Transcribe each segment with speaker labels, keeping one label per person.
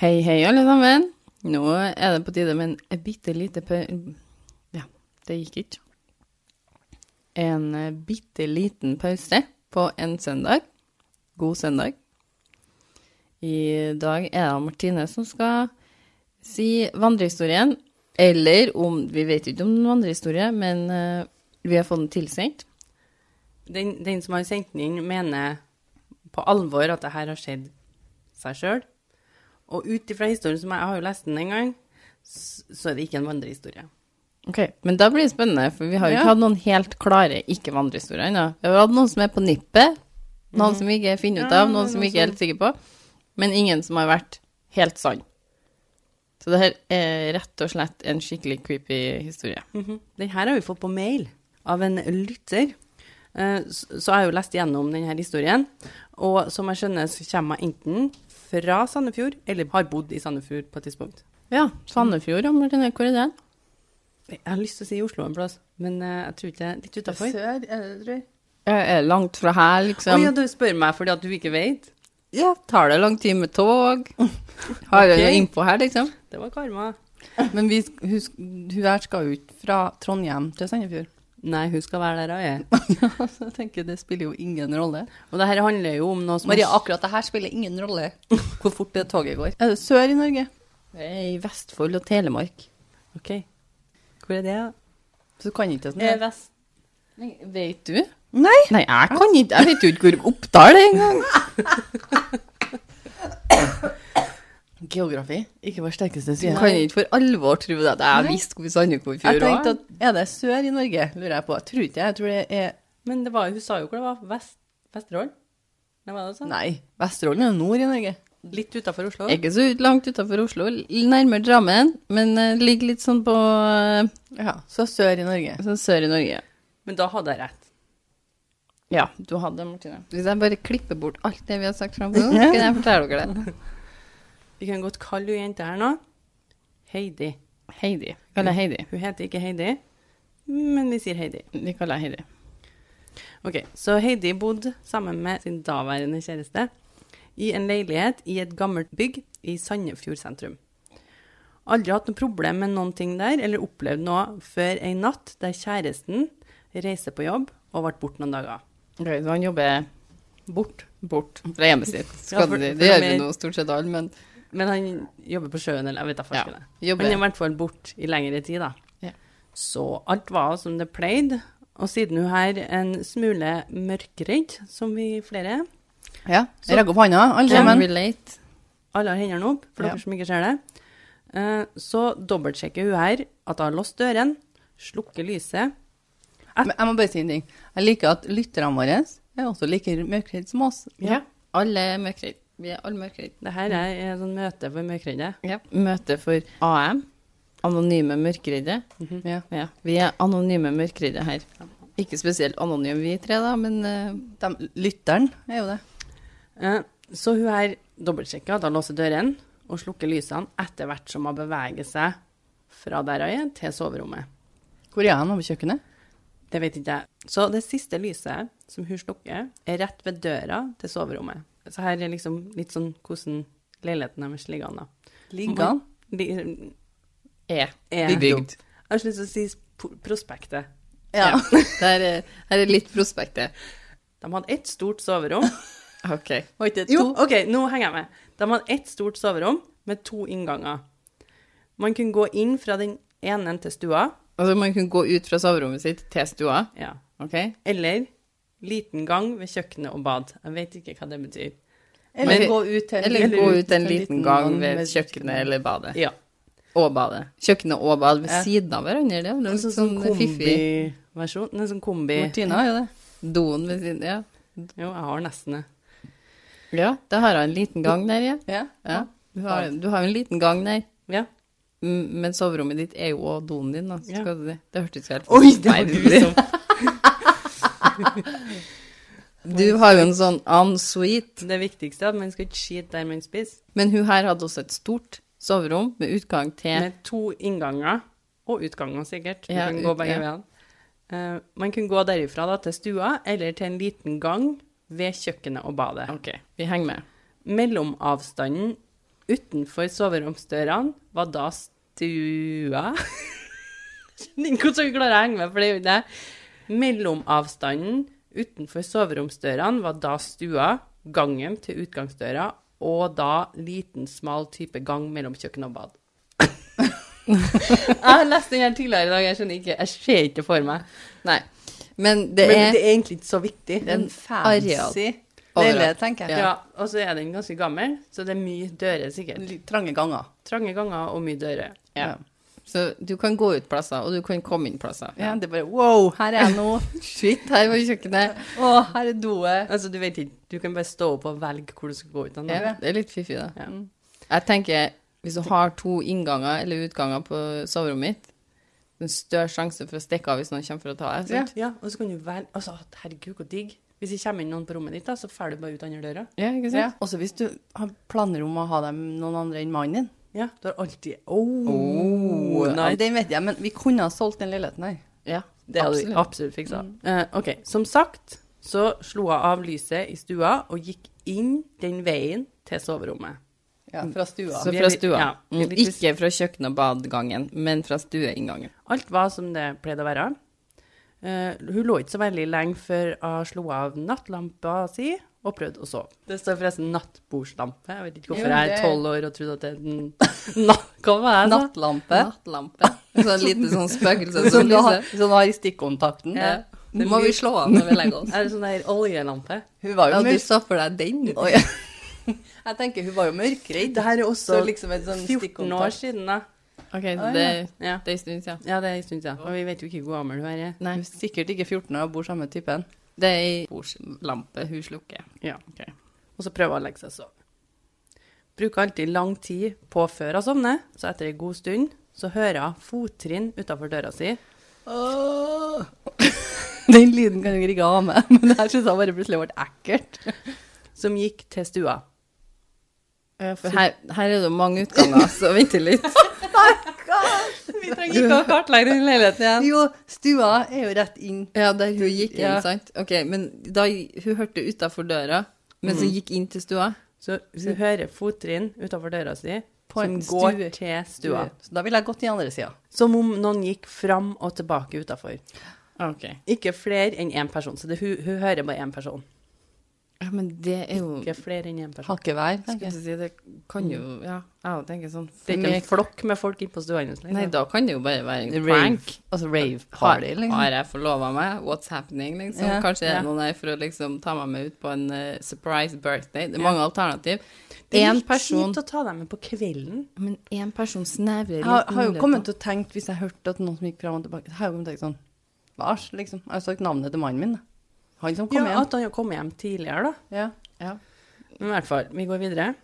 Speaker 1: Hei, hei, alle sammen. Nå er det på tide med en bitte lite pau... Ja, det gikk ikke. En bitte liten pause på en søndag. God søndag. I dag er det Martine som skal si vandrehistorien. Eller om Vi vet jo ikke om noen vandrehistorie, men eh, vi har fått den tilsendt.
Speaker 2: Den, den som har sendt den inn, mener på alvor at det her har skjedd seg sjøl. Og ut ifra historien som jeg, jeg har jo lest den en gang, s- så er det ikke en vandrehistorie.
Speaker 1: Ok, Men da blir det spennende, for vi har jo
Speaker 2: Ja.
Speaker 1: ikke hatt noen helt klare ikke-vandrehistorier ennå. Vi har hatt noen som er på nippet, noen som vi ikke finner ut
Speaker 2: Ja,
Speaker 1: av, noen som vi ikke er helt sikre på, men ingen som har vært helt sann. Så det her er rett og slett en skikkelig creepy historie.
Speaker 2: Mhm. Den her har vi fått på mail av en lytter. Eh, s- Så jeg har jo lest gjennom denne historien, og som jeg skjønner, så kommer jeg enten fra Sandefjord, eller har bodd i Sandefjord på et tidspunkt.
Speaker 1: Ja, Sandefjord, ja, Martine, hvor er den?
Speaker 2: Jeg har lyst til å si Oslo en plass, men eh, jeg tror ikke Litt utafor.
Speaker 3: Sør, er det, tror jeg.
Speaker 1: Eh, Er det langt fra her,
Speaker 2: Å
Speaker 1: liksom?
Speaker 2: ja, du spør meg fordi at du ikke vet?
Speaker 1: Ja, tar det lang tid med tog? Har jeg noe
Speaker 2: Ok.
Speaker 1: innpå her, liksom?
Speaker 2: Det var karma.
Speaker 3: Men vi, sk- hun, sk- hun her skal jo ikke fra Trondheim til Sandefjord.
Speaker 2: Nei, hun skal være der hun er.
Speaker 3: Så jeg tenker det spiller jo ingen rolle.
Speaker 2: Og det her handler jo om noe som
Speaker 3: Maria, akkurat det her spiller ingen rolle hvor fort det toget går. Er det sør i Norge?
Speaker 1: Det er i Vestfold og Telemark.
Speaker 2: Ok. Hvor er det? da?
Speaker 3: Så du kan ikke det sånn.
Speaker 2: Eh,
Speaker 3: ja.
Speaker 2: vest.
Speaker 1: Nei, vet du?
Speaker 3: Nei!
Speaker 1: Nei, jeg kan ikke, jeg vet jo ikke hvor Oppdal er engang.
Speaker 3: Geografi. Ikke vår sterkeste
Speaker 1: Du
Speaker 3: side.
Speaker 1: kan ikke for alvor tro det at jeg
Speaker 3: Nei.
Speaker 1: visste hvor Sandefjordfjord
Speaker 3: Jeg
Speaker 1: var.
Speaker 3: tenkte at Er det sør i Norge, lurer jeg på. Jeg tror ikke jeg. Jeg tror det er
Speaker 2: Men det var, hun sa jo hvor det var. Vest, Vesterålen? Nei, var det sånn?
Speaker 3: Nei, Vesterålen er jo nord i Norge.
Speaker 2: Litt utafor Oslo?
Speaker 1: Ikke så ut, langt utenfor Oslo, l- nærmere Drammen, men eh, ligger litt sånn på eh,
Speaker 3: Ja, Så sør i Norge.
Speaker 1: sånn sør i Norge.
Speaker 2: Men da hadde jeg rett.
Speaker 1: Ja, du hadde det, Martine. Hvis jeg bare klipper bort alt det vi har sagt fram til nå, skal jeg fortelle dere det.
Speaker 2: Vi kan godt kalle hun jenta her nå Heidi.
Speaker 1: Heidi. Vi kaller jeg Heidi.
Speaker 2: Hun heter ikke Heidi, men vi sier Heidi.
Speaker 1: Vi kaller jeg Heidi.
Speaker 2: Ok, Så Heidi bodde sammen med sin daværende kjæreste i en leilighet i et gammelt bygg i Sandefjord sentrum. Aldri hatt noe problem med noen ting der, eller opplevd noe før en natt der kjæresten reiste på jobb og ble borte noen dager.
Speaker 1: Ok, så han jobber
Speaker 2: Bort.
Speaker 1: bort fra hjemmet sitt.
Speaker 2: Ja,
Speaker 1: Skal
Speaker 2: for-
Speaker 1: det, det
Speaker 2: for de
Speaker 1: gjør vi
Speaker 2: er-
Speaker 1: nå stort sett alle, men
Speaker 2: Men han jobber på sjøen, eller jeg vet da
Speaker 1: ja,
Speaker 2: forskjellen. Han er i
Speaker 1: jobber.
Speaker 2: hvert fall borte i lengre tid, da.
Speaker 1: Ja.
Speaker 2: Så alt var som det pleide. Og siden hun her en smule mørkredd, som vi flere er,
Speaker 3: Ja,
Speaker 2: Så-
Speaker 3: Rekk opp hånda, alle
Speaker 1: Can
Speaker 3: sammen.
Speaker 1: relate.
Speaker 2: alle har hendene opp, for
Speaker 3: Ja.
Speaker 2: dere som ikke ser det, Eh, så dobbeltsjekker hun her at hun har låst døren, slukker lyset.
Speaker 3: Men jeg må bare si en ting. Jeg liker at lytterne våre er også like mørkredde som oss.
Speaker 1: Ja. Alle er mørkredd. Vi er alle mørkredd.
Speaker 2: Det her er
Speaker 3: Mm.
Speaker 2: et sånt møte for mørkredde.
Speaker 1: Ja. Møte for AM. Anonyme mørkredde.
Speaker 3: Ja.
Speaker 1: Ja, vi er anonyme mørkredde her. Ikke spesielt anonyme vi tre, da, men eh,
Speaker 3: De, lytteren er jo det.
Speaker 2: Eh, Så hun her dobbeltsjekker at hun låser døren og slukker lysene etter hvert som hun beveger seg fra der hun er, til soverommet.
Speaker 3: Hvor er han over kjøkkenet?
Speaker 2: Det vet ikke jeg. Så det siste lyset som hun slukker, er rett ved døra til soverommet. Så her er liksom litt sånn hvordan leiligheten deres ligger an, da.
Speaker 3: Ligger han?
Speaker 2: De,
Speaker 1: er
Speaker 2: er, jeg
Speaker 1: bebygd.
Speaker 2: har så lyst til å si sp- prospektet.
Speaker 3: Ja.
Speaker 1: Der er, her er litt prospektet.
Speaker 2: De hadde ett stort soverom.
Speaker 1: OK.
Speaker 3: Var ikke det to?
Speaker 2: Jo, OK, nå henger jeg med. De hadde ett stort soverom med to innganger. Man kunne gå inn fra den ene til stua,
Speaker 1: Altså, man kunne gå ut fra soverommet sitt til stua.
Speaker 2: ja.
Speaker 1: OK?
Speaker 2: eller liten gang ved kjøkkenet og bad. Jeg vet ikke hva det betyr.
Speaker 3: Eller
Speaker 1: Men-
Speaker 3: gå ut en,
Speaker 1: Eller gå ut en
Speaker 3: en
Speaker 1: liten gang ved
Speaker 3: med
Speaker 1: kjøkkenet eller badet.
Speaker 2: Ja.
Speaker 1: Og badet. Kjøkkenet og badet ved
Speaker 3: Ja.
Speaker 1: siden av hverandre. Det er jo
Speaker 2: En
Speaker 1: litt
Speaker 2: sånn,
Speaker 1: sånn fiffig.
Speaker 2: kombiversjon. En sånn kombi...
Speaker 3: Martina er jo det.
Speaker 1: Doen ved siden Ja.
Speaker 2: Jo, jeg har nesten det.
Speaker 1: ja det har jeg en liten gang der, ja.
Speaker 3: Ja.
Speaker 1: ja. Du har du har jo en liten gang der.
Speaker 2: Ja.
Speaker 1: Mm, Men soverommet ditt er jo også doen din, da. så
Speaker 2: Ja.
Speaker 1: Skal du, det hørtes helt liksom.
Speaker 2: Oi, det var
Speaker 1: forferdelig
Speaker 2: du som
Speaker 1: ut. Du har jo en sånn ensuite,
Speaker 2: Det viktigste er at man skal ikke skite der man spiser.
Speaker 1: men hun her hadde også et stort soverom med utgang til
Speaker 2: Med to innganger, og utganger sikkert. Man
Speaker 1: Ja,
Speaker 2: kan
Speaker 1: ut-
Speaker 2: gå begge
Speaker 1: ja.
Speaker 2: veiene. Eh, man kunne gå derifra da, til stua, eller til en liten gang ved kjøkkenet og badet.
Speaker 1: Ok, vi henger med.
Speaker 2: Mellomavstanden Utenfor soveromsdørene var da stua Skjønner ikke hvordan vi klarer å henge med, for det er jo ikke det. Mellomavstanden utenfor soveromsdørene var da stua, gangen til utgangsdøra, og da liten, smal type gang mellom kjøkken og bad. jeg har lest den her tidligere i dag, jeg skjønner ikke, jeg ser ikke det for meg.
Speaker 1: Nei. Men det
Speaker 2: Men
Speaker 1: er
Speaker 2: det er egentlig ikke så viktig.
Speaker 3: Det er en
Speaker 1: Areal.
Speaker 3: fancy leilighet, tenker
Speaker 2: Ja.
Speaker 3: jeg.
Speaker 2: og så er den ganske gammel, så det er mye dører sikkert.
Speaker 3: Litt Trange ganger.
Speaker 2: Trange ganger og mye dører.
Speaker 3: Ja.
Speaker 1: Så du kan gå ut plasser, og du kan komme inn plasser.
Speaker 3: ja, det er bare wow, her er jeg nå.
Speaker 1: Shit, her var kjøkkenet.
Speaker 3: Å, her er doet.
Speaker 2: Altså, du vet ikke, du kan bare stå opp og velge hvor du skal gå ut. av nå.
Speaker 1: Ja, det er litt fiffig, da.
Speaker 2: Ja.
Speaker 1: Jeg tenker, hvis du har to innganger eller utganger på soverommet mitt, det er en større sjanse for å stikke av hvis noen kommer for å ta deg. sant?
Speaker 2: Ja, og så kan du velge, altså, herregud, hvor digg. Hvis det kommer inn noen på rommet ditt, da, så fær du bare ut andre døra.
Speaker 1: Ja, ikke
Speaker 3: Ja.
Speaker 1: sant?
Speaker 3: Også hvis du har planer om å ha dem noen andre enn mannen din.
Speaker 2: Ja, du har alltid, åh,
Speaker 3: Oh, ja,
Speaker 2: nei.
Speaker 3: den vet jeg, men vi kunne ha solgt den leiligheten her.
Speaker 1: Ja,
Speaker 2: Det hadde vi
Speaker 1: absolutt.
Speaker 2: absolutt fiksa. Eh, ok, som sagt så slo jeg av lyset i stua og gikk inn den veien til soverommet.
Speaker 3: Ja, fra stua.
Speaker 1: Så
Speaker 2: vi er
Speaker 1: fra
Speaker 2: litt-
Speaker 1: stua.
Speaker 2: ja, vi er
Speaker 1: Mm,
Speaker 2: litt-
Speaker 1: Ikke fra kjøkken- og badgangen, men fra stueinngangen.
Speaker 2: Alt var som det pleide å være. Eh, hun lå ikke så veldig lenge før hun slo av nattlampa si og prøvde å sove. Det står forresten nattbordslampe. Jeg vet ikke hvorfor
Speaker 3: Jo,
Speaker 2: jeg
Speaker 3: det-
Speaker 2: er tolv år og trodde at det er den natt... Hva var det? altså? jeg sa?
Speaker 3: Nattlampe.
Speaker 1: Nattlampe. Sånn lite sånn spøkelse
Speaker 3: Som
Speaker 1: som
Speaker 3: du har,
Speaker 1: lyser.
Speaker 3: som du har i stikkontakten.
Speaker 2: Ja.
Speaker 1: Nå må vi slå av når vi legger oss.
Speaker 2: Er det sånn der oljelampe?
Speaker 3: Hun var jo
Speaker 1: Ja, du
Speaker 3: mørk.
Speaker 1: så for deg den.
Speaker 3: Oi. Jeg tenker hun var jo mørkredd.
Speaker 2: Det her er
Speaker 3: Så
Speaker 2: også
Speaker 3: liksom et sånn
Speaker 2: 14 år
Speaker 3: stikkontakt.
Speaker 2: siden, da.
Speaker 1: Ok, så
Speaker 3: Ah,
Speaker 1: det,
Speaker 2: Ja.
Speaker 1: det er en stund siden.
Speaker 2: ja, det er en stund siden. Og vi vet jo ikke hvor gammel hun er.
Speaker 1: Nei,
Speaker 3: Hun er Sikkert ikke 14 år og bor sammen med typen.
Speaker 1: det er ei bordslampe hun slukker.
Speaker 2: Ja, ok. Og så prøver hun å legge seg og sove. Bruker alltid lang tid på før hun sovner, så etter en god stund så hører hun fottrinn utafor døra si.
Speaker 3: Den lyden kan jeg ikke rigge av meg, men det her synes jeg bare plutselig ble ekkelt.
Speaker 2: som gikk til stua.
Speaker 1: For her, her er det jo mange utganger, så vent litt.
Speaker 2: Vi trenger ikke å kartlegge den leiligheten igjen.
Speaker 3: Jo, stua er jo rett inn.
Speaker 1: Ja, der hun gikk inn,
Speaker 3: Ja.
Speaker 1: sant? Ok, men da hun hørte utafor døra, men så gikk inn til stua.
Speaker 2: Så hun hører fottrinn utafor døra si
Speaker 3: På
Speaker 2: som
Speaker 3: en
Speaker 2: går
Speaker 3: stue.
Speaker 2: til stua.
Speaker 3: Så da ville jeg gått til andre sida.
Speaker 2: Som om noen gikk fram og tilbake utafor.
Speaker 1: Ok.
Speaker 2: Ikke flere enn én person. Så det, hun, hun hører bare én person.
Speaker 1: Ja, men det er jo
Speaker 2: Ikke flere enn én person.
Speaker 3: Hakkevær,
Speaker 1: Skulle
Speaker 3: tenker jeg.
Speaker 1: til å si, det kan jo
Speaker 3: Mm.
Speaker 1: Ja, jeg tenker sånn
Speaker 2: Det er
Speaker 1: for
Speaker 2: ikke
Speaker 1: meg-
Speaker 2: en flokk med folk inne på stua hennes.
Speaker 1: Nei,
Speaker 2: Liksom.
Speaker 1: da kan det jo bare være en prank.
Speaker 3: Rave. Altså rave
Speaker 1: Har,
Speaker 3: party, liksom.
Speaker 1: har jeg forlova meg? What's happening? Liksom.
Speaker 3: Ja,
Speaker 1: Kanskje det
Speaker 2: ja.
Speaker 1: er noen her for å liksom ta meg med ut på en eh, surprise birthday. Det er
Speaker 2: Ja.
Speaker 1: mange alternativ.
Speaker 2: Det er
Speaker 1: Én
Speaker 2: litt
Speaker 1: person,
Speaker 2: kjipt å ta dem med på kvelden.
Speaker 1: men én person snevrer
Speaker 3: Jeg har, har jo kommet til å tenke, hvis jeg hørte at noen som gikk fram og tilbake, har jeg jo kommet til å tenke sånn Vars, liksom. Jeg har sagt navnet til mannen min, da. Han som kom
Speaker 2: ja,
Speaker 3: hjem.
Speaker 2: At han kom hjem tidligere, da.
Speaker 3: Ja.
Speaker 1: ja.
Speaker 2: Men i hvert fall, vi går videre.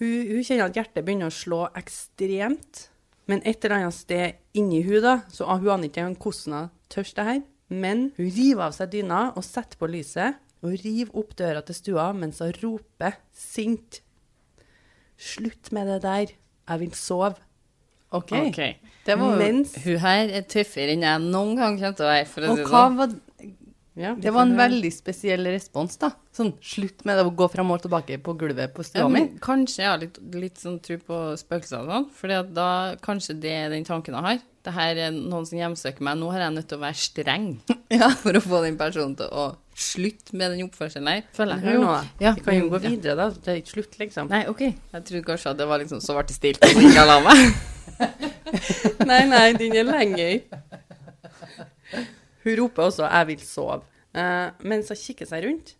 Speaker 2: Hun, hun kjenner at hjertet begynner å slå ekstremt, men et eller annet sted inni hun da, så hun aner ikke engang hvordan hun tørst det her, men hun river av seg dyna og setter på lyset, og river opp døra til stua mens hun roper sint. Slutt med det der, jeg vil sove.
Speaker 3: OK.
Speaker 1: Ok.
Speaker 3: Det var jo
Speaker 2: Mens,
Speaker 1: Hun her er tøffere enn jeg noen gang kommer til å være, for å
Speaker 3: Og
Speaker 1: si det
Speaker 3: hva
Speaker 1: sånn.
Speaker 3: var
Speaker 2: ja, vi
Speaker 3: Det var en
Speaker 2: kan høre.
Speaker 3: veldig spesiell respons, da. Sånn slutt med det å gå fram og tilbake på gulvet på
Speaker 1: Ja,
Speaker 3: stua mi.
Speaker 1: men kanskje jeg har litt, litt sånn tro på spøkelser og sånn, for da kanskje det er den tanken jeg har. Det her er noen som hjemsøker meg. Nå har jeg nødt til å være streng for å få den personen til å slutte med den oppførselen her, føler jeg.
Speaker 2: Hør nå da,
Speaker 1: Ja,
Speaker 2: vi kan jo gå
Speaker 1: ja.
Speaker 2: videre da, det er ikke slutt liksom.
Speaker 1: Nei, OK. Jeg trodde kanskje at det var liksom så ble det stilt at hun ikke la meg.
Speaker 2: Nei, nei, den er lenger. Hun roper også 'jeg vil sove', eh, mens hun kikker seg rundt.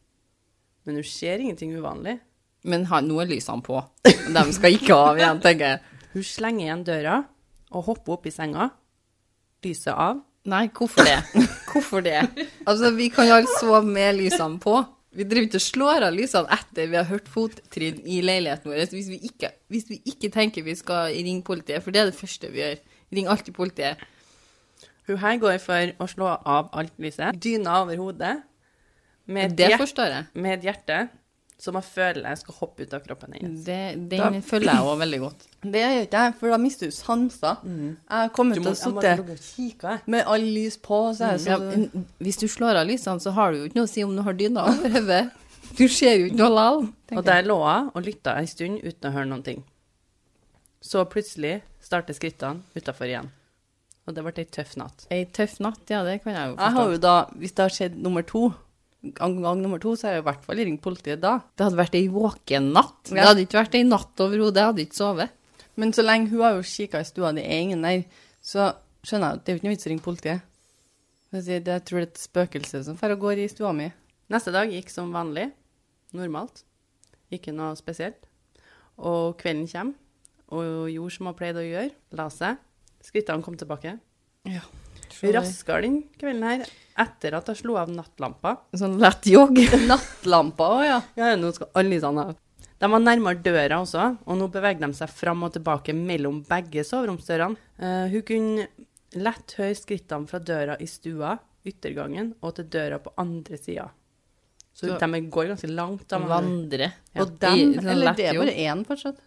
Speaker 2: Men hun ser ingenting uvanlig.
Speaker 1: Men ha, nå er lysene på. De skal ikke av igjen, tenker jeg.
Speaker 2: Hun slenger igjen døra og hopper opp i senga. Lyset av.
Speaker 1: Nei, hvorfor det? Hvorfor det? Altså, vi kan jo alle sove med lysene på. Vi driver ikke og slår av lysene etter vi har hørt fottrinn i leiligheten vår, hvis vi ikke, hvis vi ikke tenker vi skal ringe politiet, for det er det første vi gjør. Ring alltid politiet.
Speaker 2: Hun her går for å slå av alt lyset. Dyna over hodet. Med et,
Speaker 1: Det
Speaker 2: hjerte,
Speaker 1: forstår jeg.
Speaker 2: med et hjerte som hun føler skal hoppe ut av kroppen hennes.
Speaker 1: Det, den følger jeg òg veldig godt.
Speaker 3: Det gjør ikke jeg, for da mister du sanser.
Speaker 1: Mm.
Speaker 3: Jeg har kommet til å
Speaker 1: altså,
Speaker 3: sitte
Speaker 2: sitte
Speaker 3: med all lys på, så er jeg
Speaker 1: Mm, Ja,
Speaker 3: sånn
Speaker 1: men hvis du slår av lysene, så har du jo ikke noe å si om du har dyna over hodet. Du ser jo ikke noe likevel.
Speaker 2: Og
Speaker 1: tenker jeg.
Speaker 2: der lå jeg og lytta ei stund uten å høre noen ting. Så plutselig starter skrittene utafor igjen. Og det ble ei tøff natt.
Speaker 1: Ei tøff natt, ja, det kan jeg jo
Speaker 3: Jeg
Speaker 1: forstå.
Speaker 3: har jo da, hvis det har skjedd nummer to, gang, gang nummer to, så har jeg i hvert fall ringt politiet da.
Speaker 1: Det hadde vært ei våken natt. Det
Speaker 3: Ja.
Speaker 1: hadde ikke vært ei natt overhodet. Jeg hadde ikke sovet.
Speaker 3: Men så lenge hun har jo kikket i stua, det er ingen der, så skjønner jeg at det er jo ikke noe vits å ringe politiet. Jeg, sier, det- jeg tror det er et spøkelse som fer og går i stua mi.
Speaker 2: Neste dag gikk som vanlig. Normalt. Ikke noe spesielt. Og kvelden kommer, og gjorde som hun pleide å gjøre. La seg. Skrittene kom tilbake. Raskere den kvelden her, etter at jeg slo av nattlampa.
Speaker 1: Sånn lett jogg.
Speaker 3: Nattlampa også, ja.
Speaker 2: Ja, nå skal alle sånn av. De var nærmere døra også, og nå beveger de seg fram og tilbake mellom begge soveromsdørene. Eh, hun kunne lett høre skrittene fra døra i stua, yttergangen, og til døra på andre sida. Så,
Speaker 1: Så-
Speaker 2: de går ganske langt. da, men-
Speaker 1: Vandre.
Speaker 2: Ja.
Speaker 1: Og sånn
Speaker 3: Dem,
Speaker 1: dem,
Speaker 3: eller det er bare én fortsatt.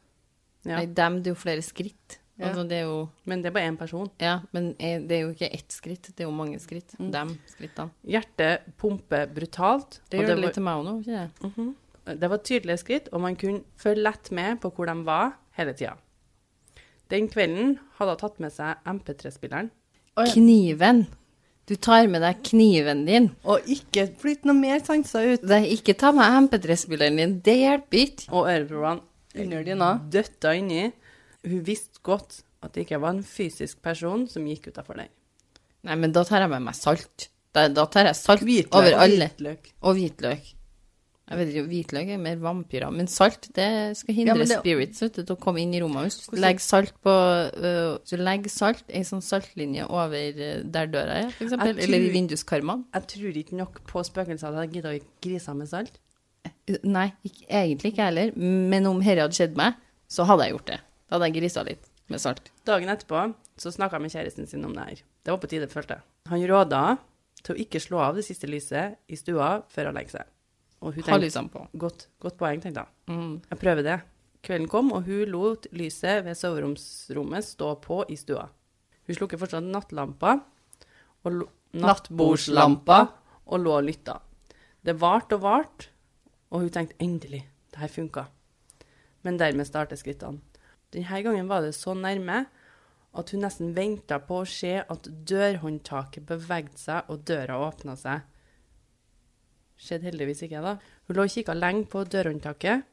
Speaker 2: Ja.
Speaker 1: Nei, dem, det er jo flere skritt.
Speaker 3: Ja.
Speaker 1: Altså, det er jo
Speaker 2: Men det er bare én person.
Speaker 1: Ja, men eh, det er jo ikke ett skritt, det er jo mange skritt.
Speaker 3: Mm.
Speaker 1: Dem skrittene.
Speaker 2: Hjertet pumper brutalt.
Speaker 1: Det
Speaker 2: og
Speaker 1: gjør det
Speaker 2: var-
Speaker 1: litt til meg òg nå, ikke det?
Speaker 3: Mm.
Speaker 2: Det var tydelige skritt, og man kunne følge lett med på hvor de var hele tida. Den kvelden hadde hun tatt med seg MP3-spilleren.
Speaker 3: Oi.
Speaker 1: Kniven. Du tar med deg kniven din.
Speaker 3: Og ikke flytt noe mer sanser ut
Speaker 1: Det er ikke ta med MP3-spilleren din, det hjelper ikke.
Speaker 2: Og øreproppene
Speaker 3: under dyna.
Speaker 2: døtta inni. Hun visste godt at det ikke var en fysisk person som gikk utafor der.
Speaker 1: Nei, men da tar jeg med meg salt. Da, da tar jeg salt
Speaker 3: Hvitløk.
Speaker 1: over alle.
Speaker 2: Hvitløk.
Speaker 1: Og hvitløk. Jeg vet ikke, Hvitløk er mer vampyrer. Men salt det skal hindre
Speaker 3: Ja, men det-
Speaker 1: spirits vet du, til å komme inn i rommet. Hvis du
Speaker 3: Hvordan-
Speaker 1: legger salt på øh, Hvis du legger salt, ei sånn saltlinje over øh, der døra er, f.eks.,
Speaker 2: Jeg tror-
Speaker 1: eller i vinduskarmene
Speaker 2: Jeg tror ikke nok på spøkelser at jeg gidder å grise med salt.
Speaker 1: Eh, Nei, ikke, egentlig ikke jeg heller. Men om dette hadde skjedd meg, så hadde jeg gjort det. Da hadde jeg grisa litt med salt.
Speaker 2: Dagen etterpå så snakka jeg med kjæresten sin om det her. Det var på tide, følte jeg. Han råda henne til å ikke slå av det siste lyset i stua før hun legger seg. Og hun
Speaker 1: Ha
Speaker 2: tenkte
Speaker 1: lysene på.
Speaker 2: godt, godt poeng, tenkte jeg.
Speaker 1: Mm.
Speaker 2: Jeg prøver det. Kvelden kom, og hun lot lyset ved soveromsrommet stå på i stua. Hun slukker fortsatt nattlampa og lo-
Speaker 3: Nattbordslampa.
Speaker 2: og lå og lytta. Det varte og varte, og hun tenkte endelig, det her funka. Men dermed startet skrittene. Denne gangen var det så nærme at hun nesten venta på å se at dørhåndtaket bevegde seg og døra åpna seg. Skjedde heldigvis ikke, da. Hun lå og kikka lenge på dørhåndtaket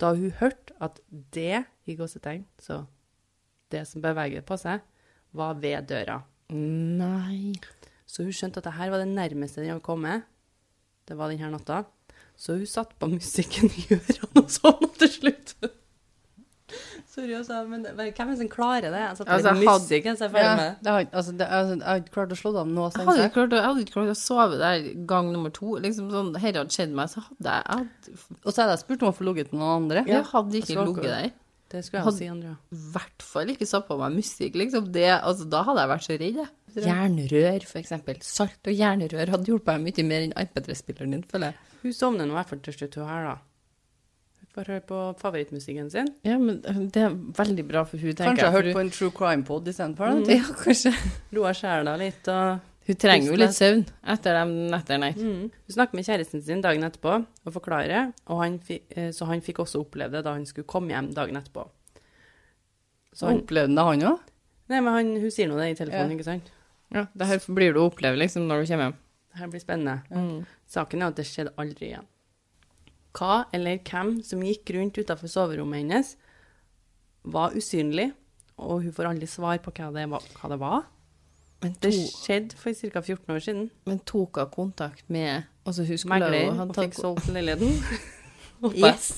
Speaker 2: da hun hørte at det, i gåsetegn, så det som beveget på seg, var ved døra.
Speaker 1: Nei
Speaker 2: Så hun skjønte at det her var det nærmeste den hadde kommet. Det var denne natta. Så hun satt på musikken i ørene og sovna til slutt. Sorry, altså, men det- hvem er det som klarer det? Jeg satt på
Speaker 1: Altså,
Speaker 2: litt
Speaker 1: had-
Speaker 2: musikk, altså, jeg er ferdig
Speaker 3: Ja,
Speaker 2: med.
Speaker 3: det har, altså, det, altså, jeg har ikke klart å slå dem nå.
Speaker 1: Jeg
Speaker 3: sånn
Speaker 1: hadde
Speaker 3: sett.
Speaker 1: ikke klart, å- jeg hadde ikke klart å sove der gang nummer to. Liksom sånn, Dette hadde skjedd meg, så hadde jeg, jeg hadde
Speaker 3: Og så hadde jeg spurt om å få ligget med noen andre.
Speaker 1: Jeg hadde ikke
Speaker 2: så
Speaker 1: ligget der.
Speaker 2: Det skulle jeg
Speaker 1: Had-
Speaker 2: si, Andrea.
Speaker 1: I hvert fall ikke satt på meg musikk, liksom. Det, altså, da hadde jeg vært så redd, jeg. Jernrør, for eksempel. Salt og jernrør hadde hjulpet meg mye mer enn MP3-spilleren din, føler jeg.
Speaker 2: Hun sovner nå i hvert fall til slutt, hun her, da. Hun får høre på favorittmusikken sin.
Speaker 1: Ja, men øh, det er veldig bra for hun,
Speaker 3: Kanskje jeg hørte på en true crime-pod istedenfor. da.
Speaker 1: Ja, kanskje.
Speaker 2: Roa sjela litt og
Speaker 1: Hun Mm. trenger jo litt søvn etter de nettene. her.
Speaker 2: Mm. Hun snakker med kjæresten sin dagen etterpå og forklarer, og han fi, eh, så han fikk også oppleve det da han skulle komme hjem dagen etterpå. Så
Speaker 3: Så
Speaker 2: han,
Speaker 3: opplevde han det, han òg.
Speaker 2: nei, men han, hun sier nå det i telefonen, ikke sant?
Speaker 1: Ja, det her blir du å oppleve, liksom, når du kommer hjem.
Speaker 2: Her blir spennende.
Speaker 1: Mm.
Speaker 2: Saken er at det skjedde aldri igjen. Hva eller hvem som gikk rundt utenfor soverommet hennes, var usynlig, og hun får aldri svar på hva det var. Hva det, var.
Speaker 1: Men
Speaker 2: det
Speaker 1: to-
Speaker 2: skjedde for ca. 14 år siden.
Speaker 1: Men tok hun kontakt med Altså, hun skulle
Speaker 2: Megler
Speaker 1: jo ha
Speaker 2: og
Speaker 1: tatt
Speaker 2: fikk solgt leiligheten.
Speaker 1: Yes!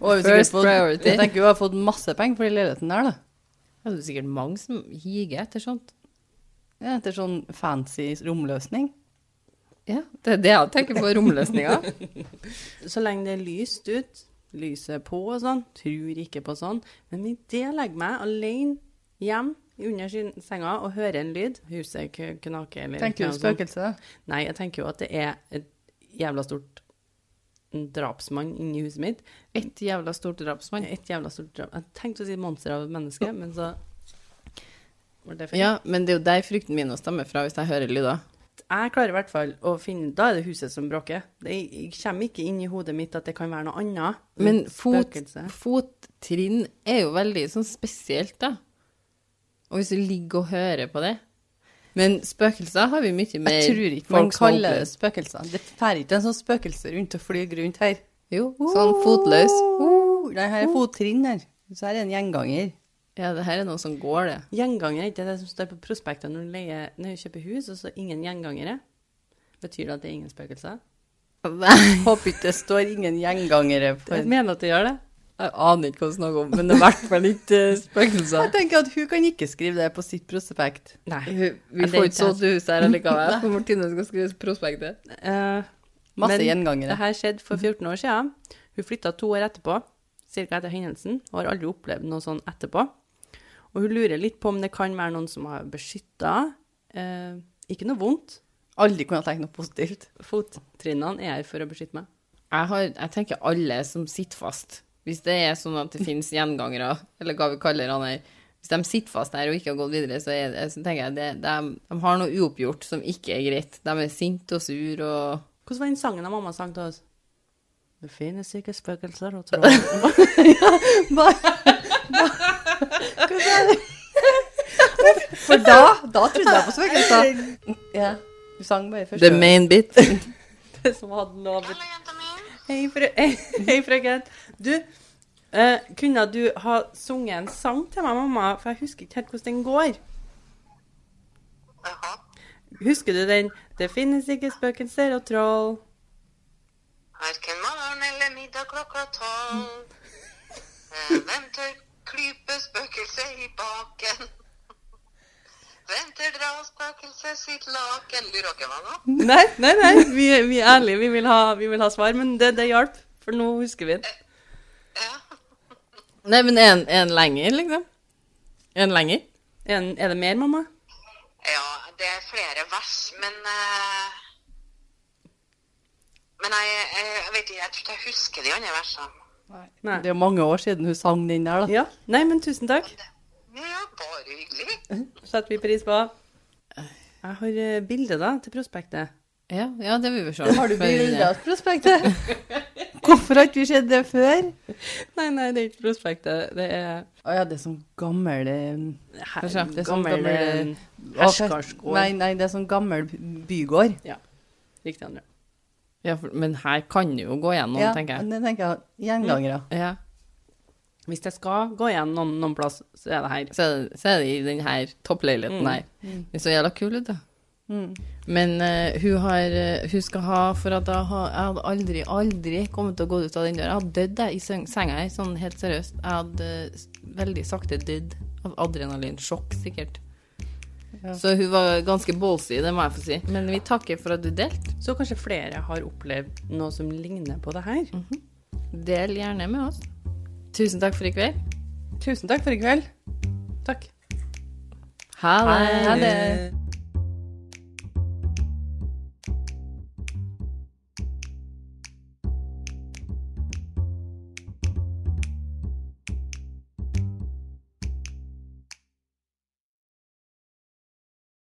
Speaker 3: Og jeg har
Speaker 1: First
Speaker 3: sikkert fått-
Speaker 1: priority.
Speaker 3: Jeg tenker hun har fått masse penger for den leiligheten der, da.
Speaker 1: Det er jo sikkert mange som higer etter sånt.
Speaker 3: Ja, Etter sånn fancy romløsning.
Speaker 1: Ja, det er det jeg tenker på romløsninger.
Speaker 2: så lenge det er lyst ut, lyset er på og sånn, tror ikke på sånn. Men hvis jeg legger meg alene hjem under syn- senga og hører en lyd, huset k- knaker eller
Speaker 3: Tenker
Speaker 2: noe
Speaker 3: du
Speaker 2: sånt.
Speaker 3: spøkelse?
Speaker 2: Nei, jeg tenker jo at det er et jævla stort drapsmann inni huset mitt.
Speaker 1: Et jævla stort drapsmann.
Speaker 2: Et jævla stort drap. Jeg tenkte å si monster av et menneske, men så var det feil.
Speaker 1: Ja, men det er jo der frykten min også stammer fra, hvis jeg hører lyder.
Speaker 2: Jeg klarer i hvert fall å finne Da er det huset som bråker. Det jeg kommer ikke inn i hodet mitt at det kan være noe annet.
Speaker 1: Men
Speaker 2: Et
Speaker 1: fot,
Speaker 2: spøkelse.
Speaker 1: fottrinn er jo veldig sånn spesielt, da. Og hvis du ligger og hører på det Men spøkelser har vi mye mer
Speaker 3: Jeg tror ikke man
Speaker 1: folk som
Speaker 3: kaller det
Speaker 1: opplever.
Speaker 3: spøkelser. Det fer ikke en sånn spøkelse rundt og flyr rundt her.
Speaker 1: Jo, sånn fotløs.
Speaker 3: Uh, Nei, her er fottrinn her. Så her er en gjenganger.
Speaker 1: Ja, det her er noe som går, det.
Speaker 2: Gjenganger er ikke det som står på prospektet når du, leier, når du kjøper hus, og så ingen gjengangere? Betyr det at det er ingen spøkelser?
Speaker 3: Håper ikke det står ingen gjengangere på
Speaker 2: Jeg
Speaker 3: en
Speaker 2: mener at det gjør det.
Speaker 1: Jeg aner ikke hva du snakker om, men det er i hvert fall ikke eh, spøkelser.
Speaker 3: Jeg tenker at hun kan ikke skrive det på sitt prospekt.
Speaker 2: Nei.
Speaker 1: Hun-
Speaker 2: Ja,
Speaker 1: Vi
Speaker 2: det er
Speaker 1: får
Speaker 2: ikke
Speaker 1: ikke solgt huset her allikevel, for Martine skal skrive prospektet.
Speaker 2: Eh,
Speaker 3: Masse
Speaker 2: men det
Speaker 3: gjengangere.
Speaker 2: her skjedde for 14 år siden. Hun flytta to år etterpå, ca. etter hendelsen, og har aldri opplevd noe sånn etterpå. Og hun lurer litt på om det kan være noen som har beskytta. Eh, ikke noe vondt.
Speaker 3: Aldri kunne ha tenkt noe positivt.
Speaker 2: Fottrinnene er her for å beskytte meg.
Speaker 1: Jeg, har, jeg tenker alle som sitter fast. Hvis det er sånn at det finnes gjengangere, eller hva vi kaller han her, hvis de sitter fast der og ikke har gått videre, så, er det, så tenker jeg det, de, de har noe uoppgjort som ikke er greit. De er sinte og sur og
Speaker 2: Hvordan var den sangen av mamma sang til oss? Det finnes ikke spøkelser og troll.
Speaker 3: For da, da trodde jeg på spøkelser. Ja. Du sang bare først.
Speaker 1: main bit.
Speaker 2: Det som hadde lovet. Hei, frø hei, hei frøken. Du, eh, kunne du ha sunget en sang til meg, mamma? For jeg husker ikke helt hvordan den går.
Speaker 4: Jaha.
Speaker 2: Husker du den? Det finnes ikke spøkelser og troll.
Speaker 4: Hverken morgen eller middag klokka tolv. Eh, Venter klype spøkelset i baken. Venter dra spøkelset sitt laken. Lurer dere hva nå?
Speaker 2: Nei, nei, nei. Vi, vi er ærlige. Vi vil ha, vi vil ha svar. Men det, det hjalp, for nå husker vi den.
Speaker 4: Ja.
Speaker 1: Nei, men en, en lenger, liksom. En lenger.
Speaker 2: Er, den- er det mer, mamma?
Speaker 4: ja, det er flere vers, men eh, Men jeg, jeg, jeg vet ikke, jeg tror ikke jeg husker de andre versene.
Speaker 2: Nei.
Speaker 3: Det er jo mange år siden hun sang den der, da.
Speaker 2: Ja. Nei, men tusen takk.
Speaker 4: Ja, bare hyggelig.
Speaker 2: Setter vi pris på. Jeg har eh, bilde da, til prospektet.
Speaker 1: Ja, ja, det vil vi se.
Speaker 3: Har du bilde av prospektet? eh, Hvorfor har ikke vi sett det før?
Speaker 2: Nei, nei, det er ikke prospektet. Det er
Speaker 3: Å ja, det er sånn gammel eh,
Speaker 2: her,
Speaker 3: Kanskje, det er sånn
Speaker 2: gammel
Speaker 3: gammel,
Speaker 2: eh, herskarskår.
Speaker 3: Nei, nei, det er sånn gammel bygård.
Speaker 2: Ja. Riktig, André.
Speaker 1: Ja, for, men her kan du jo gå gjennom,
Speaker 3: ja,
Speaker 1: tenker jeg.
Speaker 3: Det tenker jeg. Gjengangere.
Speaker 1: Ja.
Speaker 2: Hvis jeg skal gå igjen noen, noen plass, så er det her.
Speaker 1: Så, er det- så er det i den her toppleiligheten
Speaker 2: Mm.
Speaker 1: her. Den så jævla kul ut, da.
Speaker 3: Mm.
Speaker 1: Men eh, hun, har, eh, hun skal ha For at jeg, har, jeg hadde aldri, aldri kommet til å gå ut av den døra. Jeg hadde dødd jeg, i seng- senga her, sånn helt seriøst. Jeg hadde eh, s- veldig sakte dødd av adrenalinsjokk, sikkert.
Speaker 3: Ja.
Speaker 1: Så hun var ganske ballsy, det må jeg få si. Men vi takker for at du delte.
Speaker 2: Så kanskje flere har opplevd noe som ligner på det her.
Speaker 1: Mhm. Del gjerne med oss. Tusen takk for i kveld.
Speaker 3: Tusen takk for i kveld.
Speaker 2: Takk.
Speaker 1: Ha det.
Speaker 3: Ha det.